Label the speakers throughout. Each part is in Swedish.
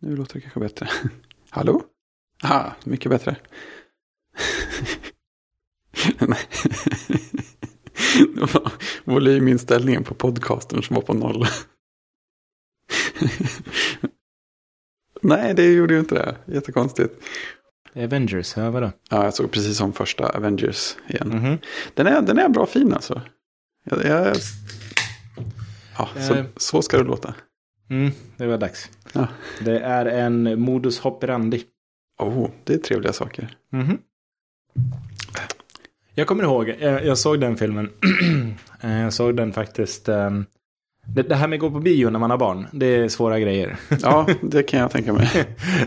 Speaker 1: Nu låter det kanske bättre. Hallå? Ah, mycket bättre. Nej. Det var volyminställningen på podcasten som var på noll. Nej, det gjorde ju inte det. Jättekonstigt.
Speaker 2: Avengers, ja vadå?
Speaker 1: Ja, jag såg precis som första Avengers igen.
Speaker 2: Mhm.
Speaker 1: Den, är, den är bra fin alltså. Jag, jag... Ja, så,
Speaker 2: Eh.
Speaker 1: så ska det låta.
Speaker 2: Mm, det var dags.
Speaker 1: Ja.
Speaker 2: Det är en modus operandi.
Speaker 1: Oh, det är trevliga saker.
Speaker 2: Mhm. Jag kommer ihåg, eh, jag såg den filmen. Eh, jag såg den faktiskt. ehm, Det, det här med att gå på bio när man har barn, det är svåra grejer.
Speaker 1: Ja, det kan jag tänka mig.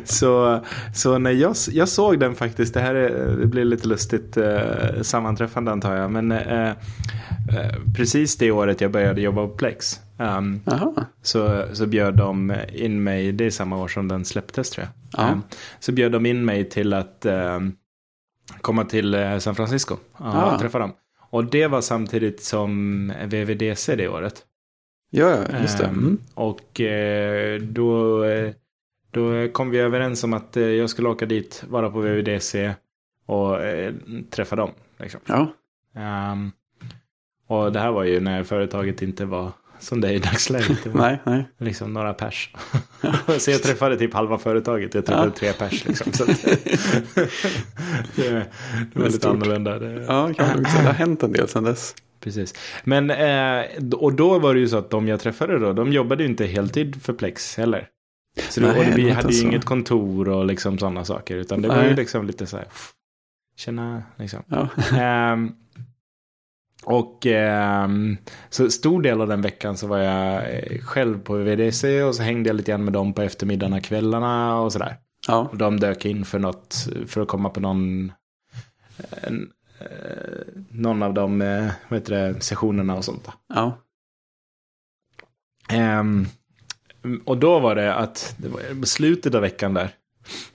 Speaker 2: så så när jag, s- jag såg den faktiskt, det här är, det blir lite lustigt eh, sammanträffande antar jag. Men eh, eh, precis det året jag började jobba på Plex. ehm,
Speaker 1: Jaha.
Speaker 2: så, så bjöd de in mig, det är samma år som den släpptes tror jag.
Speaker 1: Ja.
Speaker 2: Eh, Så bjöd de in mig till att eh, komma till eh, San Francisco och
Speaker 1: Ah.
Speaker 2: träffa dem. Och det var samtidigt som VVDC det året.
Speaker 1: Ja, ja, just det.
Speaker 2: Ehm,
Speaker 1: Mm.
Speaker 2: Och eh, då, eh, då kom vi överens om att eh, jag skulle åka dit, vara på VVDC och eh, träffa dem. Liksom.
Speaker 1: Ja,
Speaker 2: Ehm, och det här var ju när företaget inte var som det är i dagsläget. Det var
Speaker 1: nej, nej.
Speaker 2: liksom några pers. så jag träffade typ halva företaget, jag träffade
Speaker 1: Ja.
Speaker 2: tre pers liksom. Så att, det, det var lite
Speaker 1: stort.
Speaker 2: annorlunda. Det,
Speaker 1: Ja, kan man lugnt säga. Det har hänt en del sedan dess.
Speaker 2: Precis. Men, eh, och då var det ju så att de jag träffade då, de jobbade ju inte heltid för Plex heller. Så då,
Speaker 1: Nej,
Speaker 2: och
Speaker 1: det
Speaker 2: vi
Speaker 1: låter
Speaker 2: hade ju
Speaker 1: så.
Speaker 2: inget kontor och liksom sådana saker, utan det var
Speaker 1: Nej.
Speaker 2: ju liksom lite så här, pff, tjena, liksom.
Speaker 1: Ja,
Speaker 2: Ehm, och ehm, så stor del av den veckan så var jag eh, själv på VDC och så hängde jag lite grann med dem på eftermiddagarna, kvällarna och sådär.
Speaker 1: ja.
Speaker 2: Och de dök in för något, för att komma på någon, en, eh, någon av de eh, vad heter det, sessionerna och sånt. Då.
Speaker 1: ja.
Speaker 2: Ehm, och då var det att, det var, på slutet av veckan där,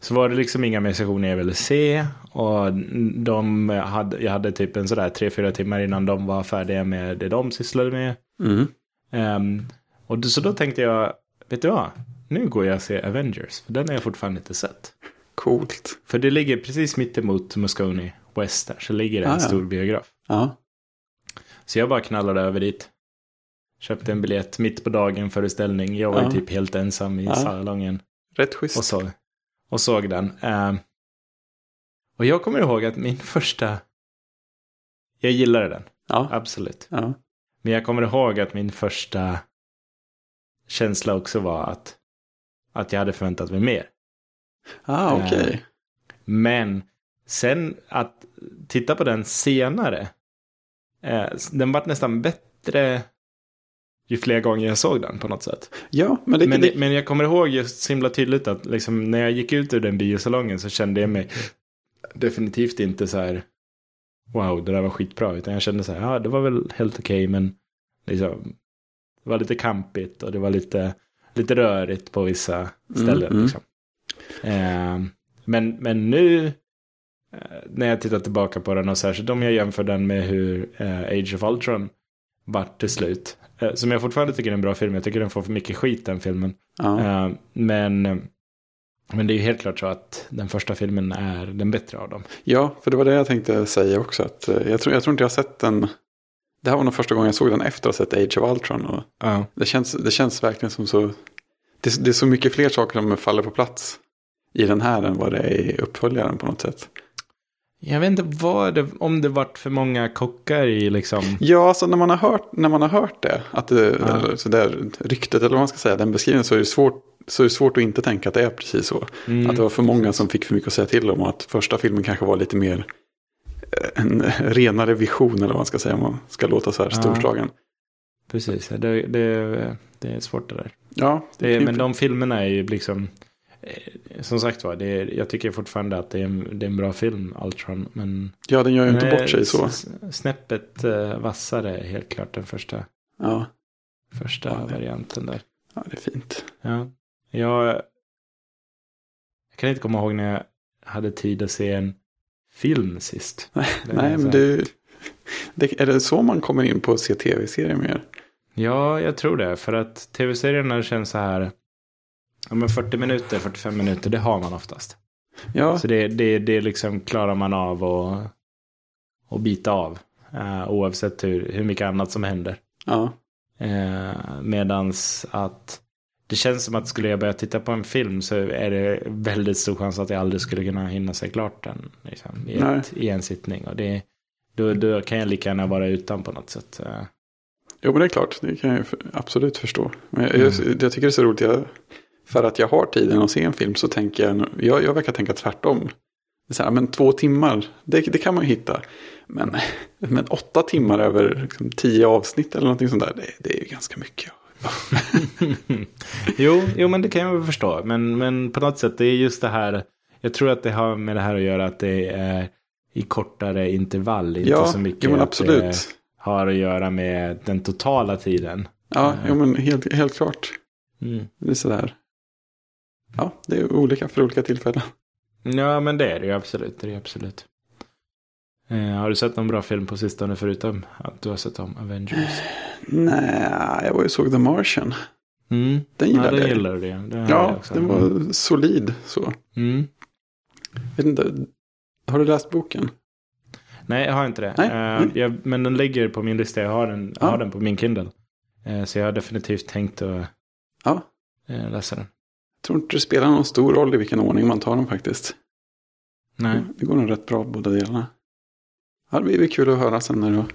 Speaker 2: så var det liksom inga mer sessioner jag ville se. Och de hade, jag hade typ en sådär tre, fyra timmar innan de var färdiga med det de sysslade med.
Speaker 1: Mm.
Speaker 2: Ehm, och då, så då tänkte jag, vet du vad? Nu går jag och ser Avengers, för den har jag fortfarande inte sett.
Speaker 1: Coolt.
Speaker 2: För det ligger precis mitt emot Moscone West där, så ligger det en
Speaker 1: Ah, ja.
Speaker 2: stor biograf.
Speaker 1: Ja,
Speaker 2: Så jag bara knallade över dit. Köpte en biljett mitt på dagen föreställning. Jag var
Speaker 1: Ja.
Speaker 2: ju typ helt ensam i
Speaker 1: Ja.
Speaker 2: salongen.
Speaker 1: rätt schysst.
Speaker 2: Och såg, och såg den. Ehm, och jag kommer ihåg att min första... Jag gillade den,
Speaker 1: Ja,
Speaker 2: absolut.
Speaker 1: ja.
Speaker 2: Men jag kommer ihåg att min första känsla också var att, att jag hade förväntat mig mer.
Speaker 1: Ah,
Speaker 2: Eh,
Speaker 1: okej.
Speaker 2: Men sen att titta på den senare, eh, den vart nästan bättre ju fler gånger jag såg den på något sätt.
Speaker 1: Ja, men det,
Speaker 2: Men,
Speaker 1: det,
Speaker 2: men jag kommer ihåg just så himla tydligt att liksom, när jag gick ut ur den biosalongen så kände jag mig definitivt inte så här wow, det där var skitbra, utan jag kände så här, ja, det var väl helt okej, men liksom, det var lite kampigt och det var lite, lite rörigt på vissa ställen.
Speaker 1: Mm, mm.
Speaker 2: Liksom. Eh, men, men nu eh, när jag tittar tillbaka på den och särskilt om jag jämför den med hur eh, Age of Ultron vart till slut, eh, som jag fortfarande tycker är en bra film, jag tycker den får för mycket skit den filmen,
Speaker 1: ja.
Speaker 2: Eh, men, men det är ju helt klart så att den första filmen är den bättre av dem.
Speaker 1: ja, för det var det jag tänkte säga också. Att eh, jag, tror, jag tror inte jag har sett den. Det här var nog första gången jag såg den efter att ha sett Age of Ultron. Och det, känns, det känns verkligen som så. Det, det är så mycket fler saker som faller på plats i den här än vad det är i uppföljaren på något sätt.
Speaker 2: Jag vet inte vad det, om det vart för många kockar i liksom.
Speaker 1: Ja, alltså när man har hört, när man har hört det, att det,
Speaker 2: Ja.
Speaker 1: eller så där ryktet eller vad man ska säga, den beskrivningen så är det svårt, så är det svårt att inte tänka att det är precis så.
Speaker 2: Mm.
Speaker 1: Att det var för många som fick för mycket att säga till om och att första filmen kanske var lite mer eh, en renare vision eller vad man ska säga om man ska låta så här
Speaker 2: Ja.
Speaker 1: storslagen.
Speaker 2: Mm, Precis, det, det, det är svårt det där.
Speaker 1: Ja,
Speaker 2: Det,
Speaker 1: ju-
Speaker 2: men de filmerna är ju liksom, eh, som sagt var, det är, jag tycker fortfarande att det är, en- det är en bra film, Ultron. Men
Speaker 1: ja, den gör ju inte
Speaker 2: men,
Speaker 1: bort sig
Speaker 2: eh,
Speaker 1: så.
Speaker 2: s- Snäppet eh, vassare, är helt klart, den första,
Speaker 1: Ja,
Speaker 2: första
Speaker 1: Ja, det-
Speaker 2: varianten där.
Speaker 1: ja det är fint.
Speaker 2: Ja. Jag, jag kan inte komma ihåg när jag hade tid att se en film sist. Den är
Speaker 1: Nej,
Speaker 2: så
Speaker 1: men
Speaker 2: här-
Speaker 1: du, det, är det så man kommer in på att se tv-serier mer?
Speaker 2: Ja, jag tror det. För att tv-serierna känns så här. Ja, men 40 minuter, 45 minuter, det har man oftast.
Speaker 1: Ja,
Speaker 2: Så det, det, det liksom klarar man av och, och bita av. eh, oavsett hur, hur mycket annat som händer.
Speaker 1: ja.
Speaker 2: Eh, medans att det känns som att skulle jag börja titta på en film så är det väldigt stor chans att jag aldrig skulle kunna hinna se klart den. Liksom, i,
Speaker 1: Nej.
Speaker 2: ett, I en sittning. Och det, då, då kan jag lika gärna vara utan på något sätt. Eh,
Speaker 1: Jo, men det är klart. Det kan jag ju för- absolut förstå. Men jag,
Speaker 2: Mm.
Speaker 1: jag, jag tycker det är så roligt. Jag, för att jag har tiden att se en film så tänker jag, jag, jag verkar tänka tvärtom. Det är Så här, men två timmar, det, det kan man ju hitta. Men, men åtta timmar över liksom, tio avsnitt eller någonting sånt där, det, det är ju ganska mycket.
Speaker 2: jo, jo, men det kan jag väl förstå. Men, men på något sätt, det är just det här. Jag tror att det har med det här att göra att det är i kortare intervall. Inte
Speaker 1: ja,
Speaker 2: så mycket
Speaker 1: jo, men
Speaker 2: att eh,
Speaker 1: absolut.
Speaker 2: det har att göra med den totala tiden.
Speaker 1: Ja, jo, men helt, helt klart.
Speaker 2: Mm.
Speaker 1: Det är sådär. Ja, det är olika för olika tillfällen.
Speaker 2: Ja, men det är det ju absolut. Det är det absolut. Eh, har du sett någon bra film på sistone förutom att du har sett om Avengers?
Speaker 1: Nej, jag var ju och såg The Martian.
Speaker 2: Mm.
Speaker 1: Den
Speaker 2: Ja,
Speaker 1: gillade
Speaker 2: den
Speaker 1: jag.
Speaker 2: gillar du. Det. Den har jag
Speaker 1: Ja,
Speaker 2: också.
Speaker 1: den var solid så.
Speaker 2: Mm.
Speaker 1: Vet inte, har du läst boken?
Speaker 2: Nej, jag har inte det.
Speaker 1: Nej.
Speaker 2: Eh,
Speaker 1: Mm.
Speaker 2: jag, men den ligger på min lista. Jag har den, jag
Speaker 1: Ja.
Speaker 2: har den på min Kindle. Eh, så jag har definitivt tänkt att
Speaker 1: Ja.
Speaker 2: eh, läsa den.
Speaker 1: Jag tror inte det spelar någon stor roll i vilken ordning man tar dem faktiskt.
Speaker 2: Nej.
Speaker 1: Det går nog rätt bra båda delarna. Ja, det blir kul att höra sen när du har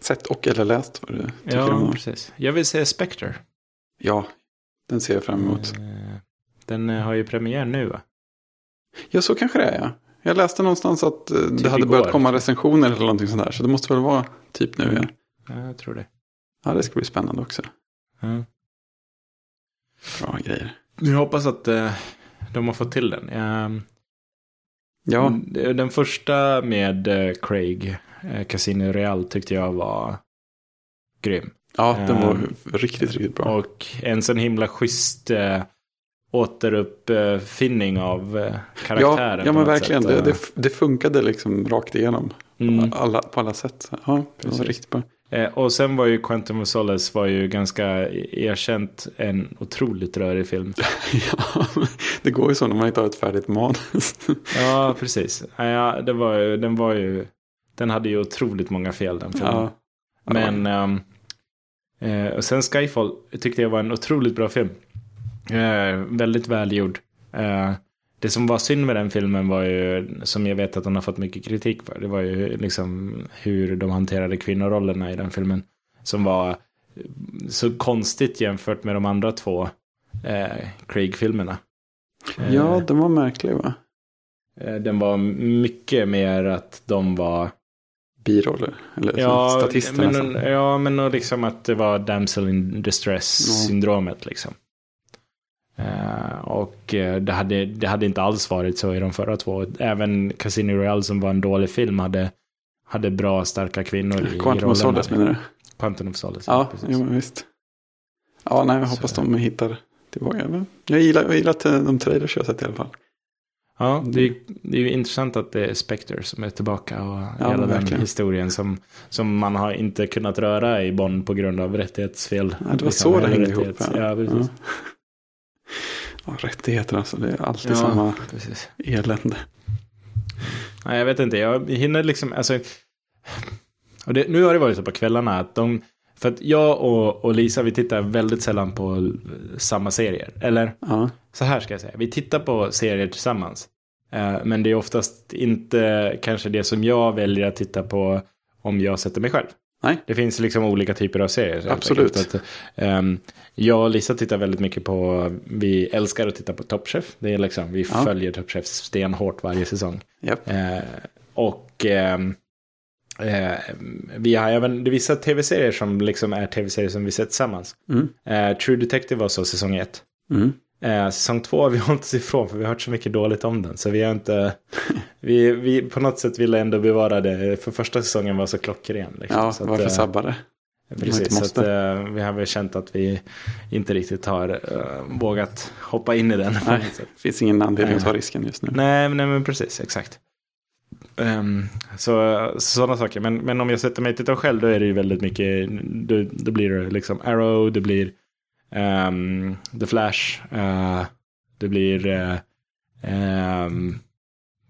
Speaker 1: sett och eller läst vad du tycker om
Speaker 2: Ja,
Speaker 1: dem.
Speaker 2: precis. Jag vill se Spectre.
Speaker 1: Ja, den ser jag fram emot.
Speaker 2: Eh, den eh, har ju premiär nu va?
Speaker 1: Ja, så kanske det är ja. Jag läste någonstans att eh, det
Speaker 2: Typ
Speaker 1: hade
Speaker 2: igår.
Speaker 1: börjat komma recensioner eller någonting sånt där. Så det måste väl vara typ nu. Ja,
Speaker 2: Mm. Ja, jag tror det.
Speaker 1: ja det ska bli spännande också.
Speaker 2: Ja.
Speaker 1: Bra grejer.
Speaker 2: Jag hoppas att eh, de har fått till den. Ehm,
Speaker 1: Ja,
Speaker 2: Mm, Den första med eh, Craig, eh, Casino Real, tyckte jag var grym.
Speaker 1: ja den var
Speaker 2: Ehm,
Speaker 1: riktigt, riktigt bra.
Speaker 2: Och en sån himla schysst eh, återuppfinning av eh, karaktären.
Speaker 1: Ja,
Speaker 2: på
Speaker 1: ja men
Speaker 2: något
Speaker 1: verkligen.
Speaker 2: sätt.
Speaker 1: Det, det, det funkade liksom rakt igenom.
Speaker 2: Mm.
Speaker 1: Alla, på alla sätt. Ja, det
Speaker 2: Precis.
Speaker 1: var riktigt bra.
Speaker 2: Eh, Och sen var ju Quentin of Solace var ju ganska erkänt en otroligt rörig film.
Speaker 1: Ja, det går ju så när man inte har ett färdigt manus.
Speaker 2: Ja, precis. Eh, Ja, det var ju, den var ju, den hade ju otroligt många fel den filmen.
Speaker 1: Ja,
Speaker 2: Men ehm, eh, och sen Skyfall tyckte jag var en otroligt bra film. Eh, väldigt välgjord. Eh, det som var synd med den filmen var ju, som jag vet att den har fått mycket kritik för, det var ju liksom hur de hanterade kvinnorollerna i den filmen. Som var eh, så konstigt jämfört med de andra två eh, Craig-filmerna. Eh,
Speaker 1: ja den var märklig va?
Speaker 2: eh, Den var mycket mer att de var
Speaker 1: Biroller. Eller så, statister
Speaker 2: men,
Speaker 1: nästan.
Speaker 2: Ja, men och liksom att det var damsel in distress-syndromet liksom. Eh, och eh, det hade, det hade inte alls varit så i de förra två. Även Casino Royale som var en dålig film hade, hade bra starka kvinnor i, i
Speaker 1: Quantum of
Speaker 2: eh, rollerna.
Speaker 1: Solace menar du?
Speaker 2: Quantum of Solace.
Speaker 1: Ja,
Speaker 2: precis.
Speaker 1: jo, men visst. Ja, nej, jag hoppas
Speaker 2: Så-
Speaker 1: de hittar tillbaka. Men jag gillar, jag gillar att eh, de trailers jag har sett i alla fall.
Speaker 2: Ja, det är, det är ju intressant att det är Spectre som är tillbaka och hela den
Speaker 1: verkligen.
Speaker 2: historien som, som man har inte kunnat röra i Bonn på grund av rättighetsfel. Liksom,
Speaker 1: Ja, det var så det hängde ihop.
Speaker 2: rättighets- Ja, precis.
Speaker 1: Ja. Ja, rättigheter alltså, det är alltid
Speaker 2: Ja.
Speaker 1: samma
Speaker 2: precis.
Speaker 1: elände.
Speaker 2: Nej, jag vet inte. Jag hinner liksom, alltså. Och det, nu har det varit så på kvällarna att de, för att jag och, och Lisa, vi tittar väldigt sällan på l- samma serier. Eller
Speaker 1: Ja,
Speaker 2: så här ska jag säga, vi tittar på serier tillsammans. Eh, men det är oftast inte kanske det som jag väljer att titta på om jag sätter mig själv.
Speaker 1: Nej.
Speaker 2: Det finns liksom olika typer av serier. helt
Speaker 1: Absolut.
Speaker 2: enkelt. Att, ehm, jag och Lisa tittar väldigt mycket på, vi älskar att titta på Top Chef. Det är liksom, vi
Speaker 1: Ja.
Speaker 2: följer Top Chef stenhårt varje säsong.
Speaker 1: japp.
Speaker 2: Eh, och ehm, eh, vi har även det är vissa tv-serier som liksom är tv-serier som vi sett tillsammans.
Speaker 1: Mm.
Speaker 2: Eh, True Detective var så säsong ett.
Speaker 1: Mm.
Speaker 2: Eh, säsong två har vi hållit oss ifrån för vi har hört så mycket dåligt om den. Så vi har inte, vi, vi på något sätt ville ändå bevara det. För första säsongen var så klockren. Liksom.
Speaker 1: Ja,
Speaker 2: så att,
Speaker 1: varför
Speaker 2: eh,
Speaker 1: sabba det? Man inte
Speaker 2: Precis, så att,
Speaker 1: måste.
Speaker 2: eh, vi har väl känt att vi inte riktigt har eh, vågat hoppa in i den. på
Speaker 1: Nej.
Speaker 2: något sätt.
Speaker 1: Det finns ingen anledning att
Speaker 2: Nej.
Speaker 1: ta risken just nu.
Speaker 2: Nej, men- nej men precis, exakt. Ehm, så sådana saker. Men, men om jag sätter mig och tittar själv då är det ju väldigt mycket, då, då blir det liksom Arrow, det blir ehm, The Flash. eh, det blir, eh, ehm,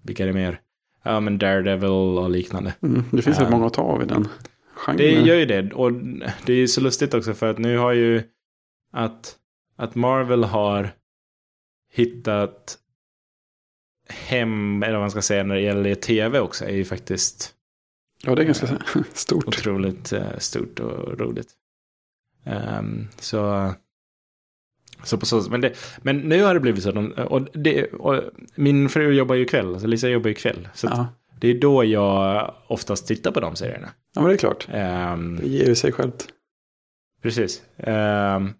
Speaker 2: vilka är det mer? Ja men Daredevil och liknande.
Speaker 1: Mm, det finns rätt
Speaker 2: Ehm.
Speaker 1: många att ta av i den genren.
Speaker 2: Det gör ju det. Och det är ju så lustigt också för att nu har ju att, att Marvel har hittat hem, eller vad man ska säga, när det gäller tv också är ju faktiskt
Speaker 1: Ja, det är ganska stort.
Speaker 2: otroligt eh, stort och roligt. Ehm, så, så på så men, det, men nu har det blivit så. att De, och det, och min fru jobbar ju kväll, alltså Lisa jobbar ju kväll. Så att
Speaker 1: Ja.
Speaker 2: det är då jag oftast tittar på de serierna.
Speaker 1: ja, men det är klart.
Speaker 2: Ehm,
Speaker 1: Det ger ju sig självt.
Speaker 2: Precis. Ehm,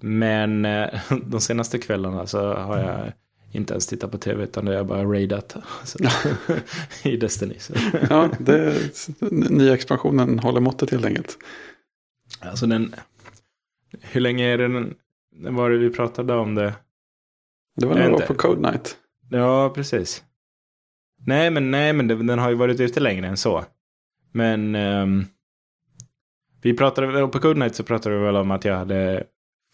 Speaker 2: men eh, de senaste kvällarna så har jag inte ens tittat på tv utan det har jag bara raidat så, i Destiny. Så.
Speaker 1: Ja, det, nya expansionen håller måttet helt enkelt.
Speaker 2: Alltså den, hur länge är det den, var det vi pratade om det?
Speaker 1: Det var när
Speaker 2: Jag
Speaker 1: jag var
Speaker 2: vet
Speaker 1: på
Speaker 2: inte.
Speaker 1: Code Night.
Speaker 2: Ja, precis. Nej, men nej, men den den har ju varit ute längre än så. Men ehm, vi pratade, väl- på Good Night så pratade vi väl om att jag hade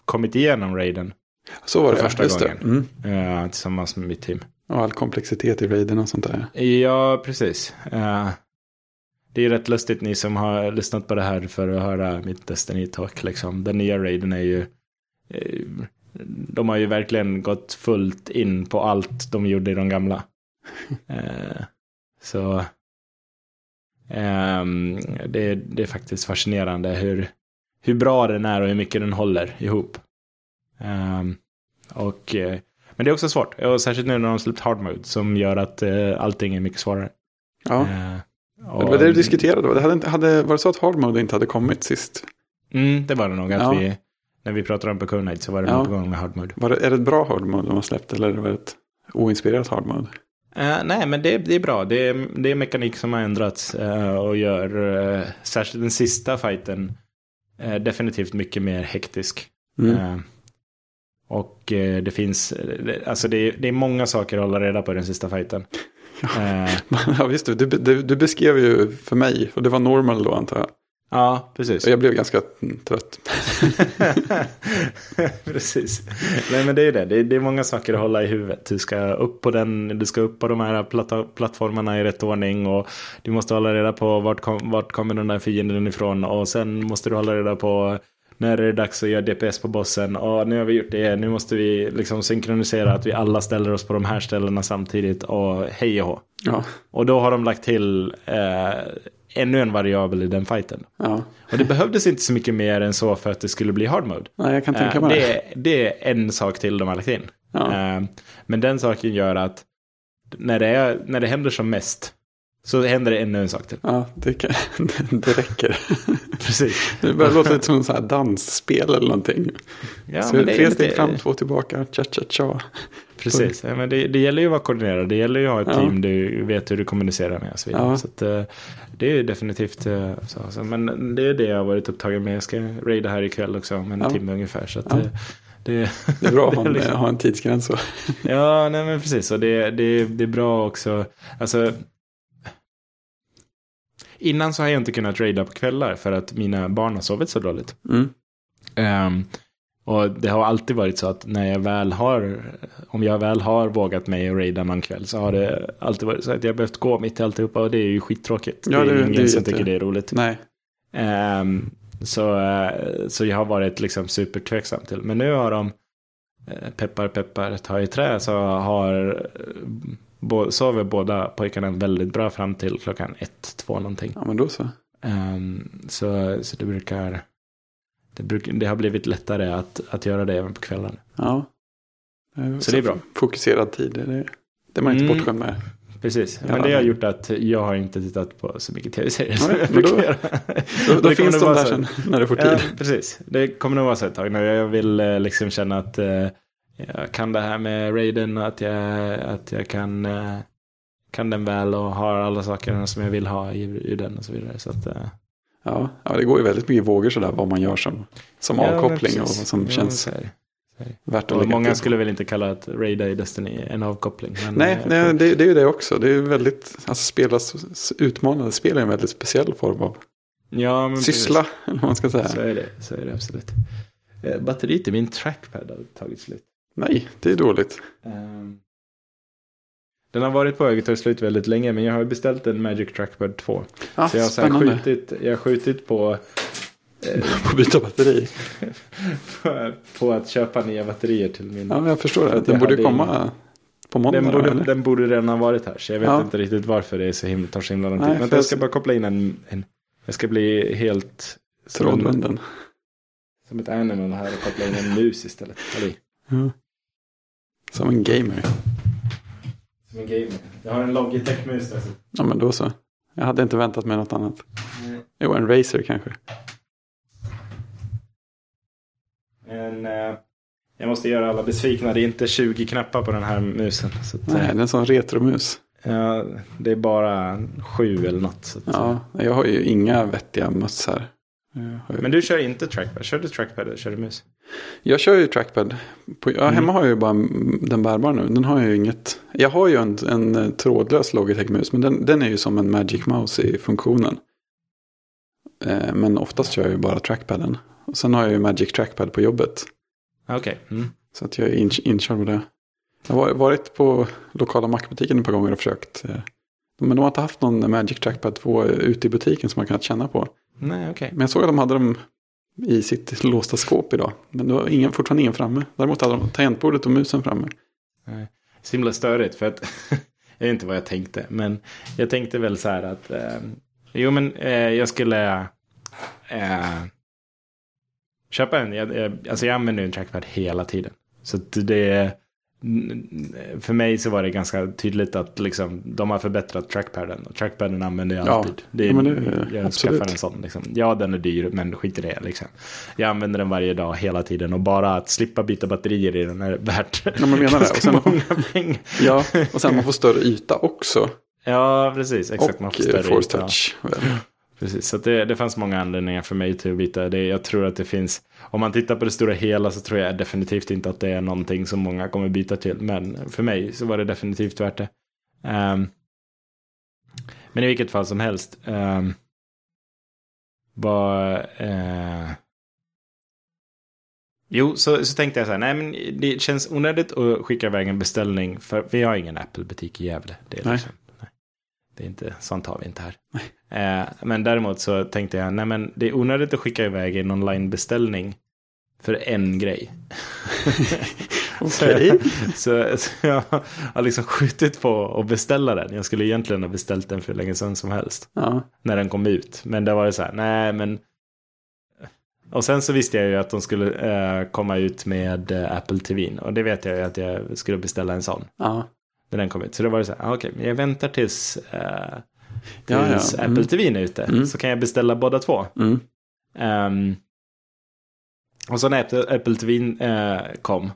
Speaker 2: kommit igenom raiden
Speaker 1: Så var
Speaker 2: För
Speaker 1: det, ja.
Speaker 2: första
Speaker 1: just det.
Speaker 2: gången.
Speaker 1: Mm.
Speaker 2: eh, tillsammans med mitt team.
Speaker 1: Och all komplexitet i raiden och sånt där.
Speaker 2: Ja, precis. Eh, det är ju rätt lustigt ni som har lyssnat på det här för att höra mitt Destiny Talk. Liksom. Den nya raiden är ju... eh, de har ju verkligen gått fullt in på allt de gjorde i de gamla. Eh, så... ehm, det, det är faktiskt fascinerande hur, hur bra den är och hur mycket den håller ihop. Ehm, och... eh, men det är också svårt. Och särskilt nu när de har släppt hard mode som gör att eh, allting är mycket svårare.
Speaker 1: Ja,
Speaker 2: Eh,
Speaker 1: det var det du diskuterade. då. Det hade, inte- hade, var det så att hard mode inte hade kommit sist?
Speaker 2: Mm, det var det nog. Att
Speaker 1: Ja.
Speaker 2: vi, när vi pratade om Pecunia så var det
Speaker 1: Ja.
Speaker 2: nog på gång med hard mode.
Speaker 1: Var det, är det ett bra hard mode de har släppt eller var det ett oinspirerat hard mode?
Speaker 2: Eh, nej, men det, det är bra. Det är, det är mekanik som har ändrats eh, och gör eh, särskilt den sista fighten eh, definitivt mycket mer hektisk.
Speaker 1: Mm.
Speaker 2: Eh, och eh, det finns, eh, det- alltså det är, det är många saker att hålla reda på i den sista fighten. Eh,
Speaker 1: Ja, visst. Du, du, du beskrev ju för mig, och det var normal då antar jag.
Speaker 2: ja, precis.
Speaker 1: Och jag blev ganska mm, trött.
Speaker 2: Precis. Nej men det är det. det. är- Det är många saker att hålla i huvudet. Du ska upp på den, du ska upp på de här platta, plattformarna i rätt ordning och du måste hålla reda på vart, kom, vart kommer den där fienden ifrån och sen måste du hålla reda på när är det dags att göra DPS på bossen och nu har vi gjort det, nu måste vi liksom synkronisera att vi alla ställer oss på de här ställena samtidigt och hej och hå.
Speaker 1: Ja,
Speaker 2: Och då har de lagt till eh, ännu en variabel i den fighten.
Speaker 1: ja.
Speaker 2: Och det behövdes inte så mycket mer än så för att det skulle bli hard mode.
Speaker 1: Nej, jag kan tänka
Speaker 2: Eh,
Speaker 1: mig det.
Speaker 2: det, det är en sak till de har lagt in.
Speaker 1: Ja.
Speaker 2: Eh, Men den saken gör att när det, är, när det händer som mest så händer det ännu en sak till.
Speaker 1: Ja, det, kan, det räcker.
Speaker 2: Precis.
Speaker 1: Det börjar låta lite som så här dansspel eller någonting.
Speaker 2: Ja,
Speaker 1: så
Speaker 2: men det är
Speaker 1: tre
Speaker 2: lite-
Speaker 1: steg fram, två tillbaka, cha cha cha.
Speaker 2: Precis. Ja, men det, det gäller ju att vara koordinerad. Det gäller ju att ha ett
Speaker 1: Ja.
Speaker 2: team du vet hur du kommunicerar med och så vidare.
Speaker 1: Ja.
Speaker 2: Så att, eh, det är ju definitivt eh, så. så. Men det är det jag har varit upptagen med. Jag ska raida här ikväll också om en
Speaker 1: Ja.
Speaker 2: timme ungefär. Så att,
Speaker 1: Ja.
Speaker 2: eh, det,
Speaker 1: Det är bra att ha en,
Speaker 2: liksom-
Speaker 1: ha en tidsgräns. Så.
Speaker 2: Ja, nej men precis. Och det, det, det är bra också. Alltså, innan så har jag inte kunnat raida på kvällar för att mina barn har sovit så dåligt.
Speaker 1: Mm.
Speaker 2: Ehm, och det har alltid varit så att när jag väl har, om jag väl har vågat mig att raida någon kväll så har det alltid varit så att jag behövt gå mitt i alltihopa och det är ju skittråkigt.
Speaker 1: Ja,
Speaker 2: det
Speaker 1: det-
Speaker 2: är
Speaker 1: det är
Speaker 2: ingen
Speaker 1: ju
Speaker 2: som
Speaker 1: inte-
Speaker 2: tycker det är roligt.
Speaker 1: Nej,
Speaker 2: Ehm, så, eh, så jag har varit liksom supertveksam till. Men nu har de, eh, peppar peppar, ta i trä, så har, eh, bo, sover båda pojkarna väldigt bra fram till klockan ett, två någonting.
Speaker 1: ja men då så.
Speaker 2: Ehm, så, så det brukar, det, bruk, det har blivit lättare att, att göra det även på kvällen.
Speaker 1: Ja.
Speaker 2: Så det är bra.
Speaker 1: Fokuserad tid, det är, det är man inte
Speaker 2: Mm.
Speaker 1: bortskämd med.
Speaker 2: Precis,
Speaker 1: Ja,
Speaker 2: men det har
Speaker 1: men-
Speaker 2: gjort att jag har inte tittat på så mycket tv-serier som
Speaker 1: Nej,
Speaker 2: jag
Speaker 1: men då-
Speaker 2: brukar göra.
Speaker 1: Då, då
Speaker 2: Det kommer
Speaker 1: finns
Speaker 2: nog
Speaker 1: de
Speaker 2: vara
Speaker 1: där
Speaker 2: så.
Speaker 1: sen när du får
Speaker 2: Ja,
Speaker 1: tid.
Speaker 2: precis. Det kommer nog vara så ett tag nu. Jag vill eh, liksom känna att eh, jag kan det här med Raiden och att jag, att jag kan, eh, kan den väl och har alla
Speaker 1: Mm.
Speaker 2: sakerna som jag vill ha i, i den och så vidare. Så att, eh,
Speaker 1: Ja, ja, det går ju väldigt mycket i vågor sådär vad man gör som, som
Speaker 2: ja, men
Speaker 1: avkoppling och
Speaker 2: precis.
Speaker 1: som
Speaker 2: Ja,
Speaker 1: känns
Speaker 2: så är det.
Speaker 1: värt att
Speaker 2: Och
Speaker 1: lägga
Speaker 2: många
Speaker 1: till.
Speaker 2: skulle väl inte kalla att Raida i Destiny en avkoppling. Men
Speaker 1: Nej,
Speaker 2: eh,
Speaker 1: nej det, det är ju det också. Det är ju väldigt, alltså spelas, utmanande spel är en väldigt speciell form av
Speaker 2: ja, men precis.
Speaker 1: syssla, eller vad man ska säga.
Speaker 2: Så är det, så är det absolut. Eh, Batteriet i min trackpad har tagit slut.
Speaker 1: Nej, det är dåligt.
Speaker 2: Ehm, Den har varit på väg att ta slut väldigt länge men jag har beställt en Magic Trackpad 2.
Speaker 1: Ah,
Speaker 2: Så jag har, så här
Speaker 1: spännande.
Speaker 2: skjutit, jag har skjutit på,
Speaker 1: På att byta batteri.
Speaker 2: eh, på att köpa nya batterier till min.
Speaker 1: Ja, men jag förstår det.
Speaker 2: Jag
Speaker 1: Den borde ju
Speaker 2: hade ingen-
Speaker 1: komma på måndag.
Speaker 2: den, borde,
Speaker 1: eller?
Speaker 2: den borde redan ha varit här så jag vet
Speaker 1: Ja.
Speaker 2: inte riktigt varför det är så himla, tar så himla lång
Speaker 1: Nej,
Speaker 2: tid.
Speaker 1: för
Speaker 2: Vänta, jag
Speaker 1: jag
Speaker 2: ska
Speaker 1: ser-
Speaker 2: bara koppla in en. en jag ska bli helt som, en,
Speaker 1: Trådbunden.
Speaker 2: som ett animal här och koppla in en mus istället. Eller,
Speaker 1: Ja. Som en gamer.
Speaker 2: som en gamer. Jag har en Logitech-mus där. så-
Speaker 1: Ja, men då så. Jag hade inte väntat mig något annat. Jo, en racer kanske.
Speaker 2: Men eh, jag måste göra alla besvikna. Det är inte 20 knappar på den här musen. Så att,
Speaker 1: Nej, det är en sån retromus.
Speaker 2: eh, det är bara sju eller något. Så att,
Speaker 1: Ja, jag har ju inga vettiga möss här. Jag, har ju...
Speaker 2: Men du kör inte trackpad? Kör du trackpad eller kör du mus?
Speaker 1: jag kör ju trackpad. På... Ja, Hemma har jag ju bara den bärbara nu. Den har jag ju inget. Jag har ju en, en eh, trådlös Logitech-mus. Men den, den är ju som en Magic Mouse i funktionen. Eh, Men oftast kör jag ju bara trackpaden. Och sen har jag ju Magic Trackpad på jobbet.
Speaker 2: Okej. Mm.
Speaker 1: Så att jag är in- inkörd på det. Jag har varit på lokala Mac-butiken ett par gånger och försökt. eh, Men de har inte haft någon Magic Trackpad 2 ute i butiken som man kunnat känna på.
Speaker 2: Nej, okej.
Speaker 1: Men jag såg att de hade dem i sitt låsta skåp idag. Men det var ingen, fortfarande ingen framme. Däremot hade de tangentbordet och musen framme.
Speaker 2: Så himla störigt för att jag vet inte vad jag tänkte. Men jag tänkte väl så här att eh, jo men eh, jag skulle eh, köpa en. Jag, jag, alltså jag använder ju en trackpad hela tiden. Så att det n- n- för mig så var det ganska tydligt att liksom, de har förbättrat trackpaden. Och trackpaden använder jag
Speaker 1: Ja,
Speaker 2: alltid. Det är,
Speaker 1: ja, men det-
Speaker 2: jag
Speaker 1: absolut.
Speaker 2: skaffar en sån. Liksom. Ja, den är dyr, men skit i det. Liksom. Jag använder den varje dag, hela tiden. Och bara att slippa byta batterier i den är värt
Speaker 1: Ja, men jag menar det. Och sen,
Speaker 2: många pengar.
Speaker 1: ja, och sen man får större yta också.
Speaker 2: Ja, precis. Exakt. man
Speaker 1: och
Speaker 2: får
Speaker 1: eh,
Speaker 2: större
Speaker 1: force
Speaker 2: yta.
Speaker 1: touch. Väl.
Speaker 2: Precis, så att det, det fanns många anledningar för mig till att byta. Det, jag tror att det finns, om man tittar på det stora hela så tror jag definitivt inte att det är någonting som många kommer byta till. Men för mig så var det definitivt värt det. Ehm, men i vilket fall som helst. Um, var, eh, jo, så, så tänkte jag så här, nej men det känns onödigt att skicka iväg en beställning. För vi har ingen Apple-butik i Gävle. Det är
Speaker 1: Nej.
Speaker 2: liksom, nej. Det är inte, sånt har vi inte här. Eh, men däremot så tänkte jag, nej men det är onödigt att skicka iväg en onlinebeställning för en grej.
Speaker 1: Okej.
Speaker 2: Så, så jag har liksom skjutit på att beställa den. Jag skulle egentligen ha beställt den för hur länge sedan som helst.
Speaker 1: Ja.
Speaker 2: När den kom ut. Men det var det så här, nej men. Och sen så visste jag ju att de skulle eh, komma ut med eh, Apple TVn. Och det vet jag ju att jag skulle beställa en sån.
Speaker 1: Ja.
Speaker 2: När den kom ut. Så då var det så här, ah, okej, men jag väntar tills, eh,
Speaker 1: Ja, ja.
Speaker 2: tills
Speaker 1: Mm.
Speaker 2: Apple TVn är ute.
Speaker 1: Mm.
Speaker 2: Så kan jag beställa båda två.
Speaker 1: Mm.
Speaker 2: Ehm, och så när Apple, Apple TVn eh, kom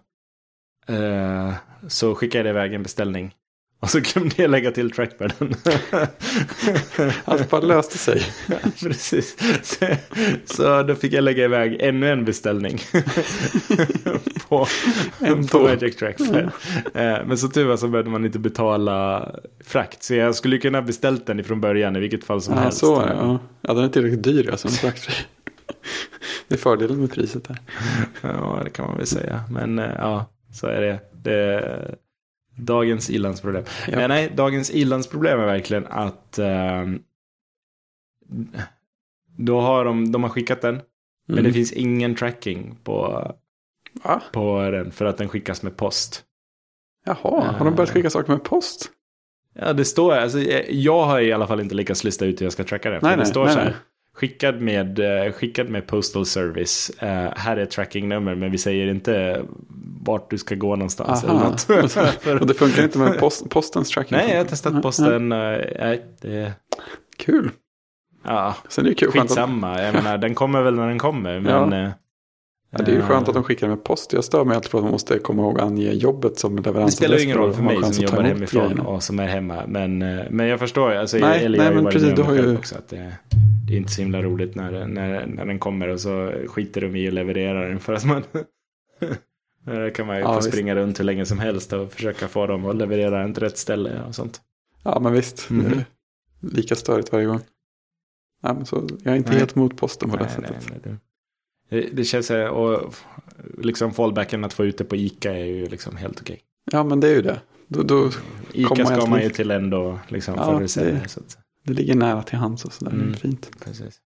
Speaker 2: eh, så skickade jag iväg en beställning. Och så glömde jag lägga till trackpaden.
Speaker 1: Allt bara löste sig.
Speaker 2: Precis. Så, så då fick jag lägga iväg ännu en beställning. på,
Speaker 1: En
Speaker 2: på
Speaker 1: på.
Speaker 2: Magic
Speaker 1: Mm.
Speaker 2: Trackpad. Eh, Men så tur var så behövde man inte betala frakt. Så jag skulle kunna ha beställt den ifrån början i vilket fall som
Speaker 1: Ja,
Speaker 2: helst.
Speaker 1: så var det. Ja. ja, den är tillräckligt dyr alltså. en fraktfri. Det är fördelen med priset där.
Speaker 2: Ja, det kan man väl säga. Men eh, ja, så är det. det är dagens ilandsproblem.
Speaker 1: Ja.
Speaker 2: Eh, Nej, dagens ilandsproblem är verkligen att eh, då har de, de har skickat den, men det
Speaker 1: Mm.
Speaker 2: finns ingen tracking på,
Speaker 1: Va?
Speaker 2: på den för att den skickas med post.
Speaker 1: Jaha, har de börjat skicka saker med post?
Speaker 2: Ja, det står, alltså, eh, jag har i alla fall inte lyckats lista ut hur jag ska tracka den. För
Speaker 1: Nej,
Speaker 2: det
Speaker 1: nej,
Speaker 2: står
Speaker 1: nej,
Speaker 2: så här,
Speaker 1: nej.
Speaker 2: Skickad med, eh, skickad med Postal Service. Eh, här är ett trackingnummer men vi säger inte vart du ska gå någonstans. Eller
Speaker 1: Aha.
Speaker 2: något.
Speaker 1: Och det funkar inte med post, postens tracking?
Speaker 2: Nej, jag har
Speaker 1: Nej,
Speaker 2: testat posten. eh, Nej, det...
Speaker 1: Kul.
Speaker 2: Ja,
Speaker 1: Sen är det ju kul. Skönt att,
Speaker 2: skitsamma. Jag menar, den kommer väl när den kommer. Men, eh,
Speaker 1: ja, det är ju
Speaker 2: eh,
Speaker 1: skönt att de skickar det med post. Jag stör mig alltid på att man måste komma ihåg att ange jobbet som leverans.
Speaker 2: Det spelar ju ingen roll
Speaker 1: Då
Speaker 2: för
Speaker 1: har man
Speaker 2: mig
Speaker 1: chans
Speaker 2: som
Speaker 1: att ta
Speaker 2: jobbar
Speaker 1: emot
Speaker 2: hemifrån
Speaker 1: grejerna.
Speaker 2: och som är hemma. Men, eh, men jag förstår, alltså,
Speaker 1: Nej,
Speaker 2: eller
Speaker 1: nej,
Speaker 2: jag har ju
Speaker 1: men
Speaker 2: varit
Speaker 1: precis,
Speaker 2: med
Speaker 1: du
Speaker 2: om
Speaker 1: har
Speaker 2: det själv
Speaker 1: ju-
Speaker 2: också. Att det, det är inte så himla roligt när, när, när den kommer och så skiter de i att leverera den för att man... Där kan man ju
Speaker 1: Ja,
Speaker 2: få
Speaker 1: visst.
Speaker 2: springa runt hur länge som helst och försöka få dem att leverera den till rätt ställe och sånt.
Speaker 1: Ja, men visst.
Speaker 2: Mhm.
Speaker 1: Det är Lika störigt varje gång. Ja, men så, jag är inte
Speaker 2: Nej.
Speaker 1: helt mot posten på det
Speaker 2: Nej, nej,
Speaker 1: sättet.
Speaker 2: nej, det- Det, det känns så här, och liksom fallbacken att få ut det på Ica är ju liksom helt okej.
Speaker 1: Ja, men det är ju det. Då, då,
Speaker 2: Ica
Speaker 1: Komma
Speaker 2: ska
Speaker 1: ens
Speaker 2: man ju
Speaker 1: lite-
Speaker 2: till ändå, liksom,
Speaker 1: Ja,
Speaker 2: förr eller
Speaker 1: det-
Speaker 2: senare. Så att,
Speaker 1: det ligger nära till hands och sådär. Det
Speaker 2: Mm.
Speaker 1: är fint.
Speaker 2: precis.